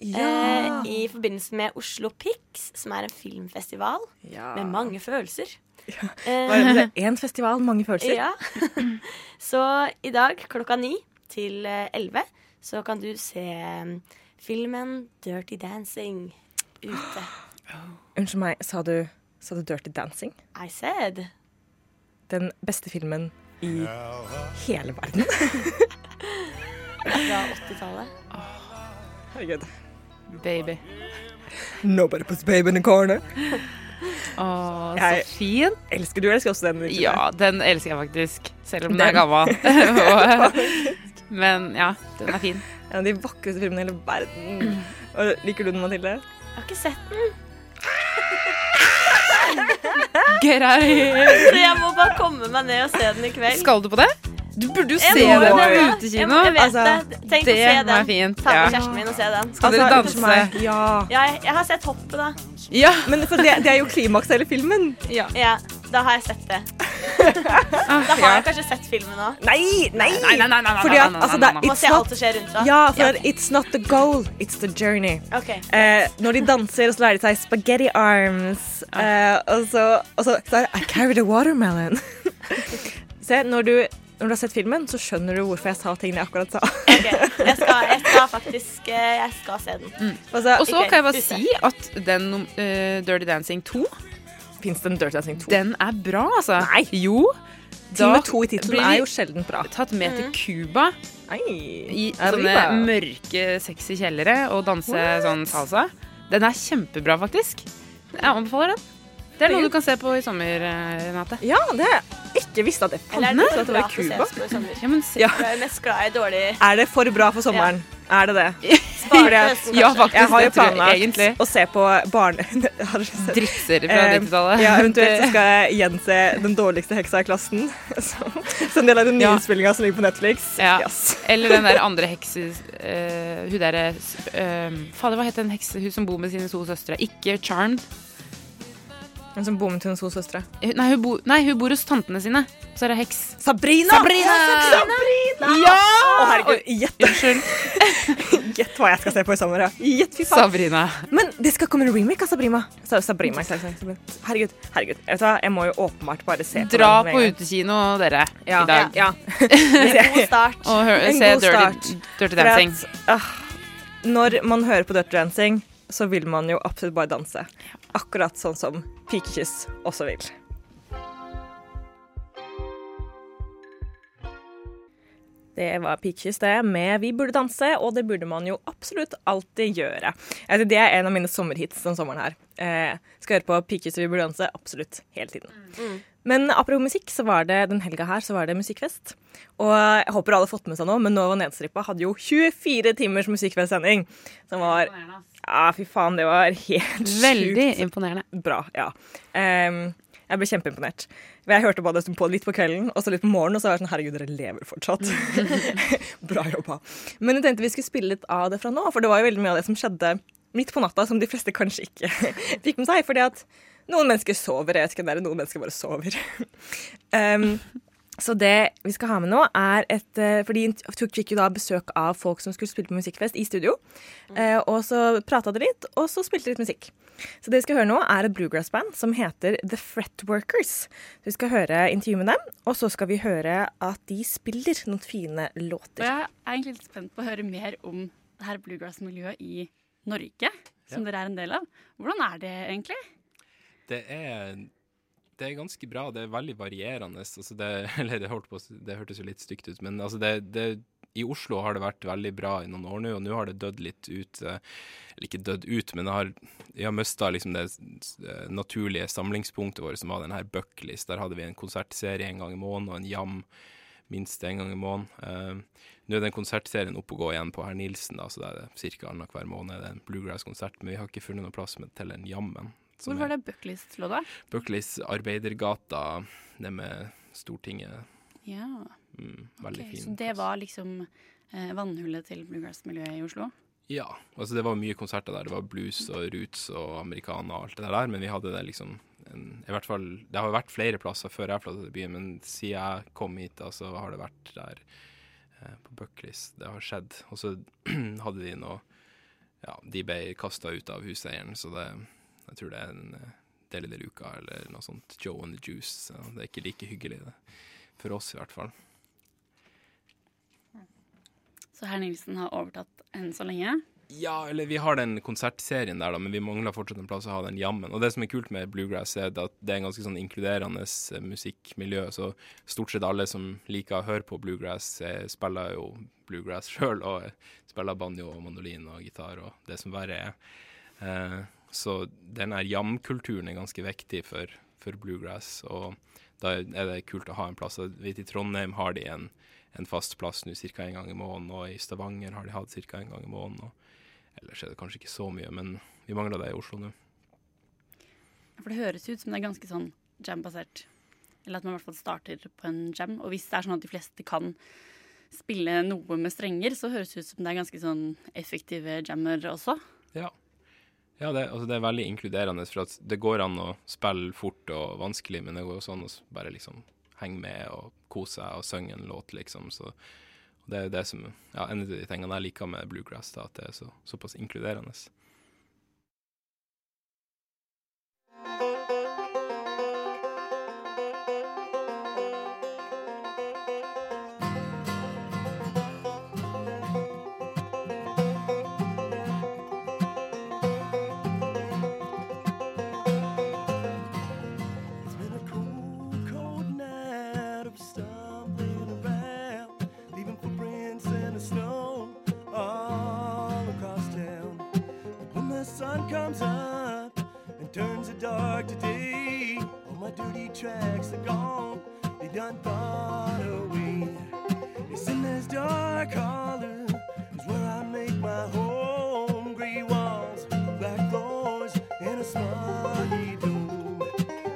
Speaker 5: Eh, I forbindelse med Oslo Pix, som er en filmfestival
Speaker 3: Ja.
Speaker 5: med mange følelser. Eh,
Speaker 3: Bare- det er Én festival, mange følelser.
Speaker 5: Ja. Så i dag klokka ni til eh, elleve så kan du se eh, filmen Dirty Dancing ute.
Speaker 3: Unnskyld meg, sa du, sa du Dirty Dancing?
Speaker 5: I said.
Speaker 3: Den beste filmen i hele verden.
Speaker 5: Fra 80-tallet.
Speaker 3: Herregud.
Speaker 4: Baby.
Speaker 3: Nobody puts baby in the corner.
Speaker 4: Å, så
Speaker 3: Jeg-
Speaker 4: fin.
Speaker 3: Elsker du elsker også den? Richard?
Speaker 4: Ja, den elsker jeg faktisk. Selv om den
Speaker 3: Den.
Speaker 4: er gammel. Og, Men ja, den er fin.
Speaker 3: En av de vakreste filmene i hele verden. Og liker du den, Mathilde?
Speaker 5: Jeg har ikke sett den,
Speaker 4: Grei.
Speaker 5: så jeg må bare komme meg ned og se den i kveld.
Speaker 4: Skal du på det? Du burde jo se
Speaker 5: må
Speaker 4: det
Speaker 5: jo
Speaker 4: på
Speaker 5: det, ja. Jeg
Speaker 4: utekino.
Speaker 5: må- jeg vet
Speaker 4: Altså,
Speaker 5: det. Tenk å
Speaker 4: det
Speaker 5: se
Speaker 4: var
Speaker 5: den.
Speaker 4: fint.
Speaker 5: Ta med
Speaker 4: Ja.
Speaker 5: kjæresten min og se den.
Speaker 4: Skal dere
Speaker 3: Altså, utenfor meg.
Speaker 4: danse?
Speaker 3: Ja.
Speaker 5: Ja, jeg, jeg har sett hoppet, da.
Speaker 4: Ja.
Speaker 3: Men for det, det er jo klimakset i hele filmen.
Speaker 5: Ja, da har jeg sett det.
Speaker 4: Ah,
Speaker 5: Da har
Speaker 4: ja.
Speaker 5: jeg kanskje sett filmen òg.
Speaker 3: Nei, nei!
Speaker 4: Nei, nei, nei, nei, nei,
Speaker 3: Fordi at
Speaker 4: nei, nei,
Speaker 3: altså, det
Speaker 4: nei,
Speaker 3: er
Speaker 4: nei.
Speaker 5: Man
Speaker 3: it's
Speaker 5: ser alt
Speaker 3: not,
Speaker 5: som skjer rundt da.
Speaker 3: Ja, for it's not the goal, it's the journey.
Speaker 5: Ok.
Speaker 3: Eh, når de danser, så lærer de seg spaghetti arms. Eh, og så, og så, så er det I carried a watermelon. Se, når du, når du har sett filmen, så skjønner du hvorfor jeg sa tingene jeg akkurat sa.
Speaker 5: ok. Jeg, skal, jeg skal faktisk eh, Jeg skal se den.
Speaker 3: Altså,
Speaker 4: Og så kan jeg bare
Speaker 5: Ikke
Speaker 4: si at den eh, Dirty Dancing 2,
Speaker 3: Fins det en Dirty Dancing 2?
Speaker 4: den er bra, altså. Nei. Jo.
Speaker 3: Time to i
Speaker 4: blir
Speaker 3: tittelen
Speaker 4: vi
Speaker 3: er jo sjelden bra.
Speaker 4: tatt med til Cuba
Speaker 3: Nei.
Speaker 4: i sånne
Speaker 3: Arriba.
Speaker 4: mørke, sexy kjellere og danse sånn salsa. Den er kjempebra, faktisk. Jeg anbefaler den. Det er noe du kan se på i sommer, eh, Renate.
Speaker 3: Ja, det har jeg ikke visst at det
Speaker 5: Eller er
Speaker 3: fantes.
Speaker 5: det
Speaker 3: at det
Speaker 5: bra
Speaker 3: var i
Speaker 5: for
Speaker 3: Cuba.
Speaker 5: sespo i sommer?
Speaker 4: Ja, men se.
Speaker 3: Ja.
Speaker 5: Du er jo mest glad i dårlig
Speaker 3: Er det for bra for sommeren? Er det det?
Speaker 5: Bare
Speaker 3: Fordi at-
Speaker 5: høsten,
Speaker 4: Ja,
Speaker 5: kanskje.
Speaker 4: faktisk.
Speaker 3: Jeg har jo
Speaker 4: det tror jeg egentlig.
Speaker 3: planlagt å se på barne... Har dere sett-
Speaker 4: Drittserie fra
Speaker 3: Eh,
Speaker 4: 90-tallet.
Speaker 3: Ja, eventuelt så skal jeg gjense den dårligste heksa i klassen. Som som en del av den nye
Speaker 4: Ja.
Speaker 3: innspillinga som ligger på Netflix.
Speaker 4: Ja.
Speaker 3: Yes.
Speaker 4: Eller den der andre hekse... eh, hun derre uh, Fader, hva het den hekse hun som bor med sine to søstre? Ikke Charmed.
Speaker 3: Men som bommet hun to søstre.
Speaker 4: Hun- Eh, Nei hun, bo, nei, hun bor hos tantene sine. Så er det heks.
Speaker 3: Sabrina! Sabrina!
Speaker 4: Ja!
Speaker 3: Å, herregud. Gjett,
Speaker 4: Unnskyld.
Speaker 3: gjett hva jeg skal se på i sommer. ja. Gjett, fy faen.
Speaker 4: Sabrina.
Speaker 3: Men det skal komme en remake av Sabrina. Sa- Sabrina. sa- sa- Sabrina. Herregud. herregud. Vet du hva? Jeg må jo åpenbart bare se på
Speaker 4: Dra
Speaker 3: den med
Speaker 4: på
Speaker 3: en gang.
Speaker 4: utekino, dere,
Speaker 3: ja.
Speaker 4: i dag.
Speaker 3: Ja.
Speaker 5: God start.
Speaker 4: Og hør,
Speaker 3: En
Speaker 4: se
Speaker 3: god
Speaker 4: Dirty,
Speaker 3: start.
Speaker 4: Dirty
Speaker 3: For
Speaker 4: Dancing.
Speaker 3: at, ah, når man hører på Dirty Dancing, så vil man jo absolutt bare danse. Akkurat sånn som pikekyss også vil. Det var pikekyss, det, med Vi burde danse, og det burde man jo absolutt alltid gjøre. Altså, det er en av mine sommerhits den sommeren her. Eh, skal høre på pikekyss og Vi burde danse absolutt hele tiden. Men apropos musikk, så var det den helga her så var det musikkfest. Og jeg håper alle har fått med seg nå, men Nova Nedstrippa hadde jo 24 timers musikkfestsending. Som var Ja, fy faen, det var helt
Speaker 4: Veldig
Speaker 3: sjukt
Speaker 4: imponerende.
Speaker 3: bra. Ja. Em, jeg ble kjempeimponert. Jeg hørte på det på litt på kvelden og så litt på morgenen, og så var jeg sånn Herregud, dere lever fortsatt. bra jobba. Men jeg tenkte vi skulle spille litt av det fra nå, for det var jo veldig mye av det som skjedde midt på natta, som de fleste kanskje ikke fikk med seg. fordi at noen mennesker sover, jeg vet ikke, det er noen mennesker bare sover. Em, så det vi skal ha med nå, er et eh, Fordi Tok fikk jo da besøk av folk som skulle spille på musikkfest i studio. Eh, Og så prata de litt, og så spilte de litt musikk. Så det vi skal høre nå, er et bluegrass-band som heter The Fret Workers. Så vi skal høre intervju med dem, og så skal vi høre at de spiller noen fine
Speaker 6: Og
Speaker 3: låter.
Speaker 6: jeg er egentlig litt spent på å høre mer om det her bluegrass-miljøet i Norge, som dere er en del av. Hvordan er det egentlig?
Speaker 7: Det er, det er ganske bra. Det er veldig varierende. Altså det, eller det, holdt på, å s- det hørtes jo litt stygt ut, men altså det, det, i Oslo har det vært veldig bra i noen år nå, og nå har det dødd litt ut. eh, Eller ikke dødd ut, men det har, jeg har mista liksom det s- s- eh, naturlige samlingspunktet vårt, som var den her Buckleys. Der hadde vi en konsertserie en gang i måneden, og en jam minst en gang i måneden. Eh, nå er den konsertserien oppe og gå igjen på herr Nilsen, da, så det er ca. annenhver måned er det en bluegrass-konsert. Men vi har ikke funnet noen plass med, til en jammen.
Speaker 6: Hvor var det Bucklist lå da?
Speaker 7: Buckleys Arbeidergata, det med Stortinget.
Speaker 6: Ja,
Speaker 7: Mm,
Speaker 6: ok.
Speaker 7: veldig fin.
Speaker 6: Så det var liksom eh, vannhullet til bluegrass-miljøet i Oslo?
Speaker 7: Ja. Altså, det var mye konserter der. Det var blues og roots og americana og alt det der, men vi hadde det liksom en, I hvert fall Det har jo vært flere plasser før jeg flytta til byen, men siden jeg kom hit, da, så har det vært der eh, på Buckleys. Det har skjedd. Og så hadde de noe Ja, de ble kasta ut av huseieren, så det Jeg tror det er en eh, del i det luka eller noe sånt. Joe and the Juice. Ja, det er ikke like hyggelig, det. For oss, i hvert fall.
Speaker 6: Så herr Nilsen har overtatt enn så lenge?
Speaker 7: Ja, eller vi har den konsertserien der, da, men vi mangler fortsatt en plass å ha den jammen. Og det som er kult med bluegrass, er at det er en ganske sånn inkluderende eh, musikkmiljø. Så stort sett alle som liker å høre på bluegrass, eh, spiller jo bluegrass sjøl. Og eh, spiller banjo og mandolin og gitar og det som verre er. Eh, Så den her jamkulturen er ganske viktig for, for bluegrass, og da er det kult å ha en plass. Jeg vet, I Trondheim har de en, en fast plass nå ca. en gang i måneden, og i Stavanger har de hatt ca. en gang i måneden. Og ellers er det kanskje ikke så mye, men vi mangler det i Oslo nå.
Speaker 6: For det høres ut som det er ganske sånn jam-basert. Eller at man i hvert fall starter på en jam. Og hvis det er sånn at de fleste kan spille noe med strenger, så høres det ut som det er ganske sånn effektive er jammer også.
Speaker 7: Ja. Ja, det, altså det er veldig inkluderende, for at det går an å spille fort og vanskelig, men det går også an å s- bare liksom henge med og kose seg og synge en låt, liksom. Så og det er jo det som ja, en av de tingene jeg liker med bluegrass, da, at det er så, såpass inkluderende.
Speaker 1: It's been a cold, cold night of stumbling around, leaving footprints in the snow all across town. But when the sun comes up and turns the dark to day, all my dirty tracks are gone. They done thought away. It's in this dark hollow is where I make my home. Gray walls, black floors, and a smoggy dome.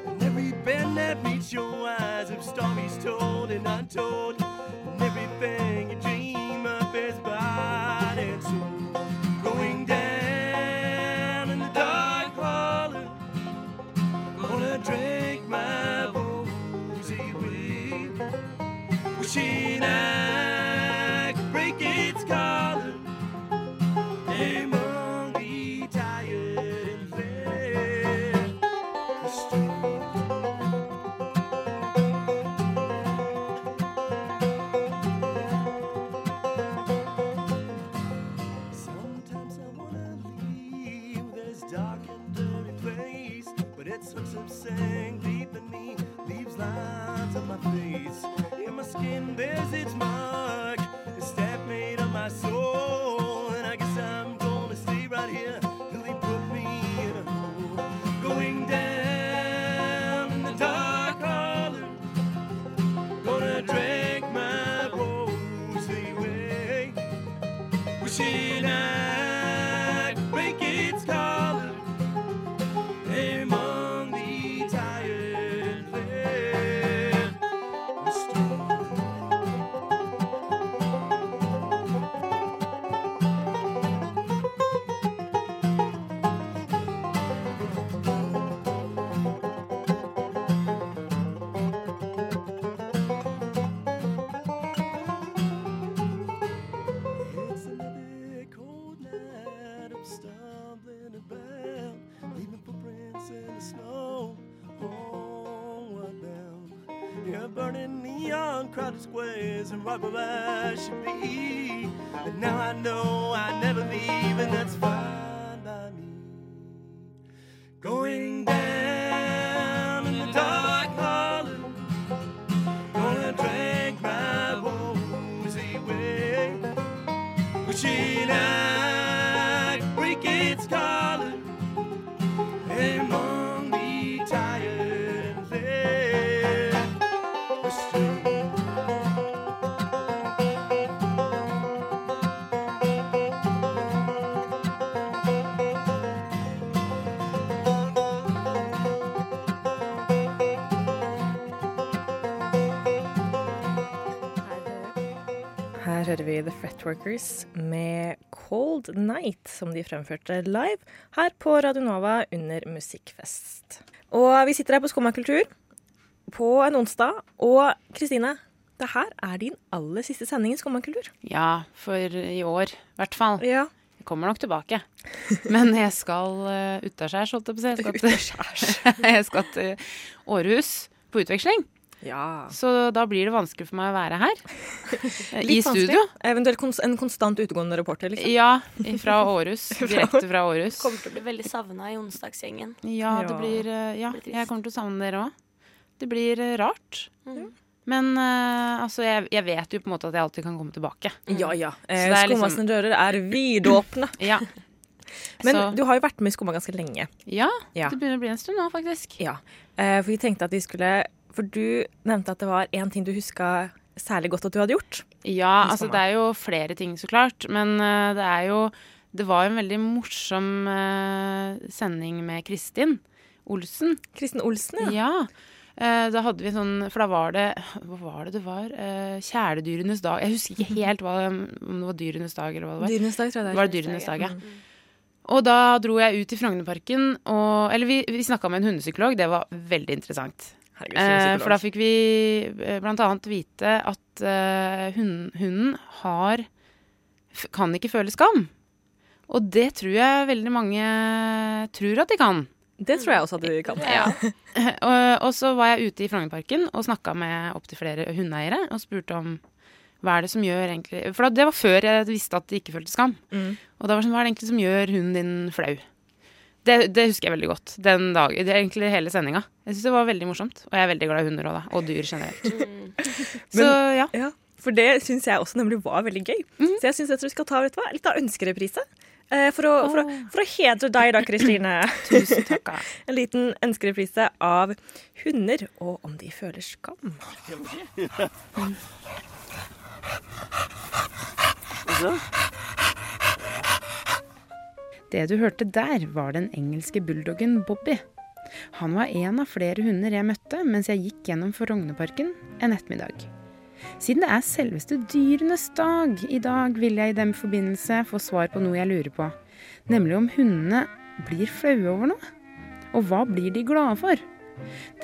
Speaker 1: And every bend that meets your eyes of stories told and untold. And everything you dream of is body and soul. Going down in the dark hollow. Gonna drink my boozy with. Wishing I could break its collar. Among the tired and fair. Sometimes I wanna leave this dark and dirty place, but it's hooks of sand leaving me, leaves lines on my face. In my skin, there's its mark, a stamp made on my soul, and I guess I'm gonna stay right here till they put me in a hole. Going down in the dark hollow, gonna drink my rosy way. Wishing I'd break its collar among the tired land. It's another cold night. I'm stumbling about, leaving footprints in the snow. Homeward bound. Yeah, burning neon crowded squares and right where I should be. But now I know I never leave, and that's fine by me. Going down in the dark hollow. Gonna drink my woozy way. Wishing I could break its collar among the tired and left astray.
Speaker 3: Her hører vi The Fretworkers med Cold Night, som de fremførte live her på Radionova under Musikkfest. Og vi sitter her på Skummakultur på en onsdag, og Kristine, det her er din aller siste sending i Skummakultur.
Speaker 4: Ja, for i år, i hvert fall.
Speaker 3: Ja.
Speaker 4: Jeg kommer nok tilbake. Men jeg skal uh, utaskjærs, holdt jeg på å si. Jeg skal til- Jeg skal til Århus på utveksling.
Speaker 3: ja.
Speaker 4: Så da blir det vanskelig for meg å være her. eh, I
Speaker 3: Litt vanskelig.
Speaker 4: studio.
Speaker 3: Eventuelt kons en konstant utegående reporter, liksom.
Speaker 4: Ja, fra Århus. Direkte fra Århus.
Speaker 5: Kommer til å bli veldig savna i onsdagsgjengen.
Speaker 4: Ja, det
Speaker 3: Ja.
Speaker 4: blir eh, Ja,
Speaker 5: Det blir trist.
Speaker 4: jeg kommer til å savne dere òg. Det blir eh, rart. Men eh, altså, jeg, jeg vet jo på en måte at jeg alltid kan komme tilbake.
Speaker 3: Ja, Eh, ja.
Speaker 4: Så det er liksom-
Speaker 3: Skumma sine dører er vidåpne.
Speaker 4: Ja.
Speaker 3: Men
Speaker 4: Så-
Speaker 3: du har jo vært med i Skumma ganske lenge.
Speaker 4: Ja,
Speaker 3: Ja.
Speaker 4: det begynner å bli en stund nå, faktisk.
Speaker 3: Ja, eh, for vi tenkte at vi skulle For du nevnte at det var én ting du huska særlig godt at du hadde gjort.
Speaker 4: Ja,
Speaker 3: Hvis
Speaker 4: altså
Speaker 3: man
Speaker 4: det er jo flere ting, så klart. Men eh, det er jo Det var jo en veldig morsom eh, sending med Kristin Olsen.
Speaker 3: Kristin Olsen, ja.
Speaker 4: Ja. Eh, Da hadde vi en sånn For da var det Hva var det det var? Eh, Kjæledyrenes dag. Jeg husker ikke helt hva, om det var dyrenes dag eller hva det var.
Speaker 3: Dyrenes dag, tror jeg
Speaker 4: Var det dyrenes dag, ja.
Speaker 3: Mm.
Speaker 4: Mm. Og da dro jeg ut i Frognerparken og Eller vi, vi snakka med en hundepsykolog, det var veldig interessant.
Speaker 3: Herregud,
Speaker 4: Eh, for da fikk vi eh, blant annet vite at eh, hun, hunden har f kan ikke føle skam. Og det tror jeg veldig mange tror at de kan.
Speaker 3: Det tror jeg også at du kan.
Speaker 4: og, og så var jeg ute i Frognerparken og snakka med opptil flere hundeeiere og spurte om hva er det som gjør egentlig For da, det var før jeg visste at de ikke følte skam.
Speaker 3: Mm.
Speaker 4: Og da var det sånn, hva er det egentlig som gjør hunden din flau? Det, det husker jeg veldig godt. Den dag, det er egentlig hele sendinga. Jeg syns det var veldig morsomt. Og jeg er veldig glad i hunder òg, da. Og dyr generelt. Så ja.
Speaker 3: Ja, for det syns jeg også nemlig var veldig gøy.
Speaker 4: Mm.
Speaker 3: Så jeg syns vi skal ta vet du hva, litt av ønskereprise. Eh, for, å, for, å, for å hedre deg da, Kristine.
Speaker 4: Tusen takk. ja.
Speaker 3: En liten ønskereprise av hunder og om de føler skam.
Speaker 4: Det du hørte der, var den engelske bulldoggen Bobby. Han var en av flere hunder jeg møtte mens jeg gikk gjennom Frognerparken en ettermiddag. Siden det er selveste dyrenes dag i dag, vil jeg i den forbindelse få svar på noe jeg lurer på. Nemlig om hundene blir flaue over noe? Og hva blir de glade for?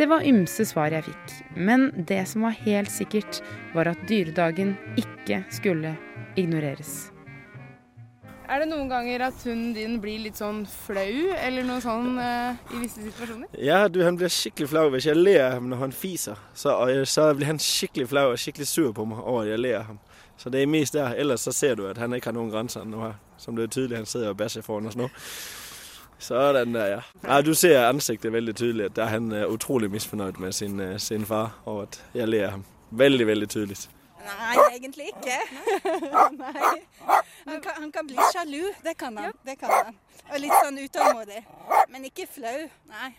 Speaker 4: Det var ymse svar jeg fikk, men det som var helt sikkert, var at dyredagen ikke skulle ignoreres.
Speaker 8: Er det noen ganger at hunden din blir litt sånn flau, eller noe sånn eh, i visse situasjoner?
Speaker 1: Ja, du, han blir skikkelig flau hvis jeg ler av ham når han fiser. Så, og, så blir han skikkelig flau og skikkelig sur på meg over at jeg ler av ham. Så det er mest der. Ellers så ser du at han ikke har noen grenser nå her. Som det er tydelig han sitter og bæsjer foran oss nå. Sådan der, ja. ja. Du ser ansiktet veldig tydelig. at Der er han eh, utrolig misfornøyd med sin, eh, sin far over at jeg ler av ham. Veldig, veldig tydelig.
Speaker 9: Nei, egentlig ikke. Nei. Han, kan, han kan bli sjalu, det kan han. Det kan han. Og litt sånn utålmodig. Men ikke flau. Nei.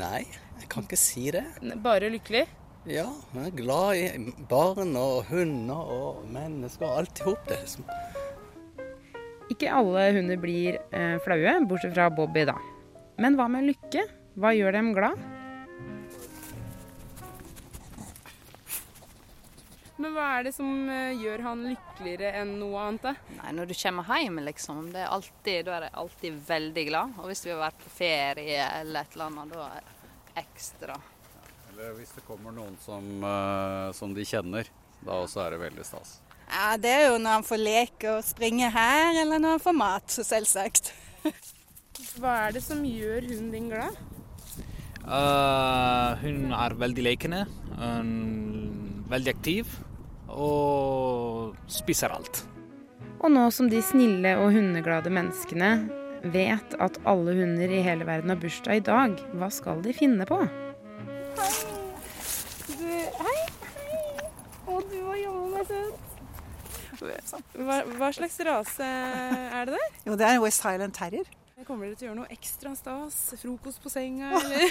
Speaker 10: Nei, jeg kan ikke si det.
Speaker 8: Bare lykkelig?
Speaker 10: Ja, men jeg er glad i barn og hunder og mennesker og alt i hop. Det er liksom
Speaker 4: Ikke alle hunder blir eh, flaue, bortsett fra Bobby, da. Men hva med lykke? Hva gjør dem glad?
Speaker 8: Men hva er det som eh, gjør han lykkeligere enn noe annet? da?
Speaker 9: Nei, når du kommer hjem, liksom, det er alltid, da er jeg alltid veldig glad. Og hvis vi har vært på ferie eller et eller annet, da er det ekstra.
Speaker 7: Eller hvis det kommer noen som, eh, de kjenner, da også er det veldig stas.
Speaker 9: Ja, det er jo når han får leke og springe her, eller når han får mat, selvsagt.
Speaker 8: Hva er det som gjør hunden din glad?
Speaker 7: Eh, hun er veldig lekende, um, veldig aktiv og spiser alt.
Speaker 4: Og nå som de snille og hundeglade menneskene vet at alle hunder i hele verden har bursdag i dag, hva skal de finne på?
Speaker 8: Å, du var jammen meg søt. Hva, hva slags rase er det der?
Speaker 9: Jo, det er West Highland Terrier.
Speaker 8: Kommer dere til å gjøre noe ekstra stas? Frokost på senga, eller?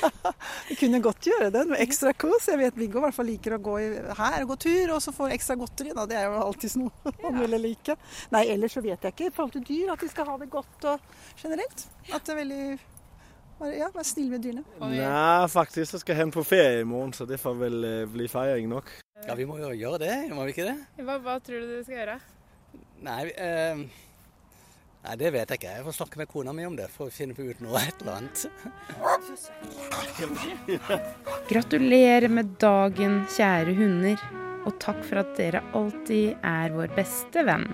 Speaker 9: Vi kunne godt gjøre det med ekstra kos. Jeg vet Viggo i hvert fall liker å gå i- her og gå tur, og så få ekstra godteri. Da. Det er jo alltid noe han ville like. Nei, ellers så vet jeg ikke. I forhold til dyr, at de skal ha det godt og generelt. At det er veldig bare, Ja, være snill med dyrene.
Speaker 1: Nei, faktisk så skal han på ferie i morgen, så det får vel eh, bli feiring nok.
Speaker 7: Ja, vi må jo gjøre det, må vi ikke det?
Speaker 8: Hva, hva tror du dere skal gjøre?
Speaker 7: Nei, vi, eh, nei, det vet jeg ikke. Jeg får snakke med kona mi om det for å finne ut noe et eller annet.
Speaker 4: Gratulerer med dagen, kjære hunder, og takk for at dere alltid er vår beste venn.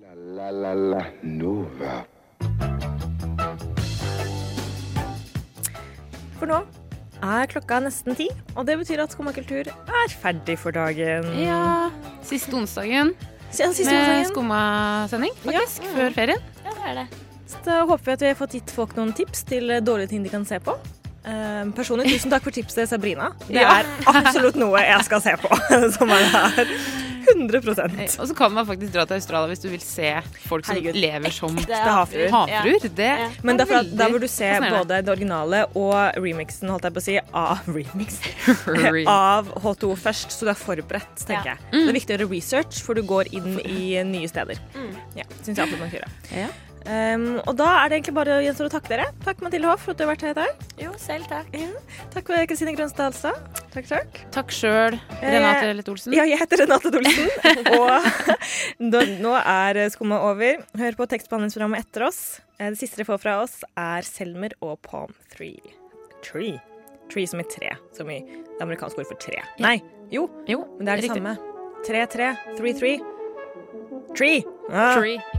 Speaker 2: La la la Nova.
Speaker 3: For nå er klokka nesten ti, og det betyr at Skumma kultur er ferdig for dagen.
Speaker 4: Ja, siste onsdagen
Speaker 3: Siden siste
Speaker 4: med
Speaker 3: onsdagen
Speaker 4: skummasending, faktisk, før ferien.
Speaker 5: Ja, det er det.
Speaker 3: så håper vi at vi har fått gitt folk noen tips til eh, dårlige ting de kan se på. Eh, personlig, tusen takk for tipset, Sabrina. Det
Speaker 4: Ja.
Speaker 3: er absolutt noe jeg skal se på. som er det her. 100
Speaker 4: Eh, Og så kan man faktisk dra til Australia hvis du vil se folk som
Speaker 3: Herregud.
Speaker 4: lever som
Speaker 3: Ekte havfruer.
Speaker 4: havfruer. Det
Speaker 3: Men
Speaker 4: er
Speaker 3: derfor, at-
Speaker 4: veldig
Speaker 3: der hvor du ser
Speaker 4: fascinerende.
Speaker 3: både det originale og remixen, holdt jeg på å si, av remix,
Speaker 4: Remix.
Speaker 3: av H2 først, så du er forberedt, tenker jeg. Det er viktig å gjøre research, for du går inn i nye steder. Ja, synes jeg absolutt man kan gjøre. Um, og da er det egentlig bare å gjenstå å takke dere. Takk Mathilde Hoff for at du har vært her i dag.
Speaker 5: Jo, selv takk.
Speaker 3: Takk eh, Kristine Grønstad Halstad. Takk, takk.
Speaker 4: Takk sjøl,
Speaker 3: Eh,
Speaker 4: Renate Lett Olsen.
Speaker 3: Ja, jeg heter Renate Dolsen. og nå, nå er skumma over. Hør på tekstbehandlingsprogrammet etter oss. Eh, Det siste dere får fra oss, er Selmer og Palm Tree. Tree. Tree som i tre. Som i det amerikanske ordet for tre. Nei, jo. Men det er det
Speaker 4: riktig.
Speaker 3: samme. Tre, tre. Three, three. Tree. Ah.
Speaker 4: Tree.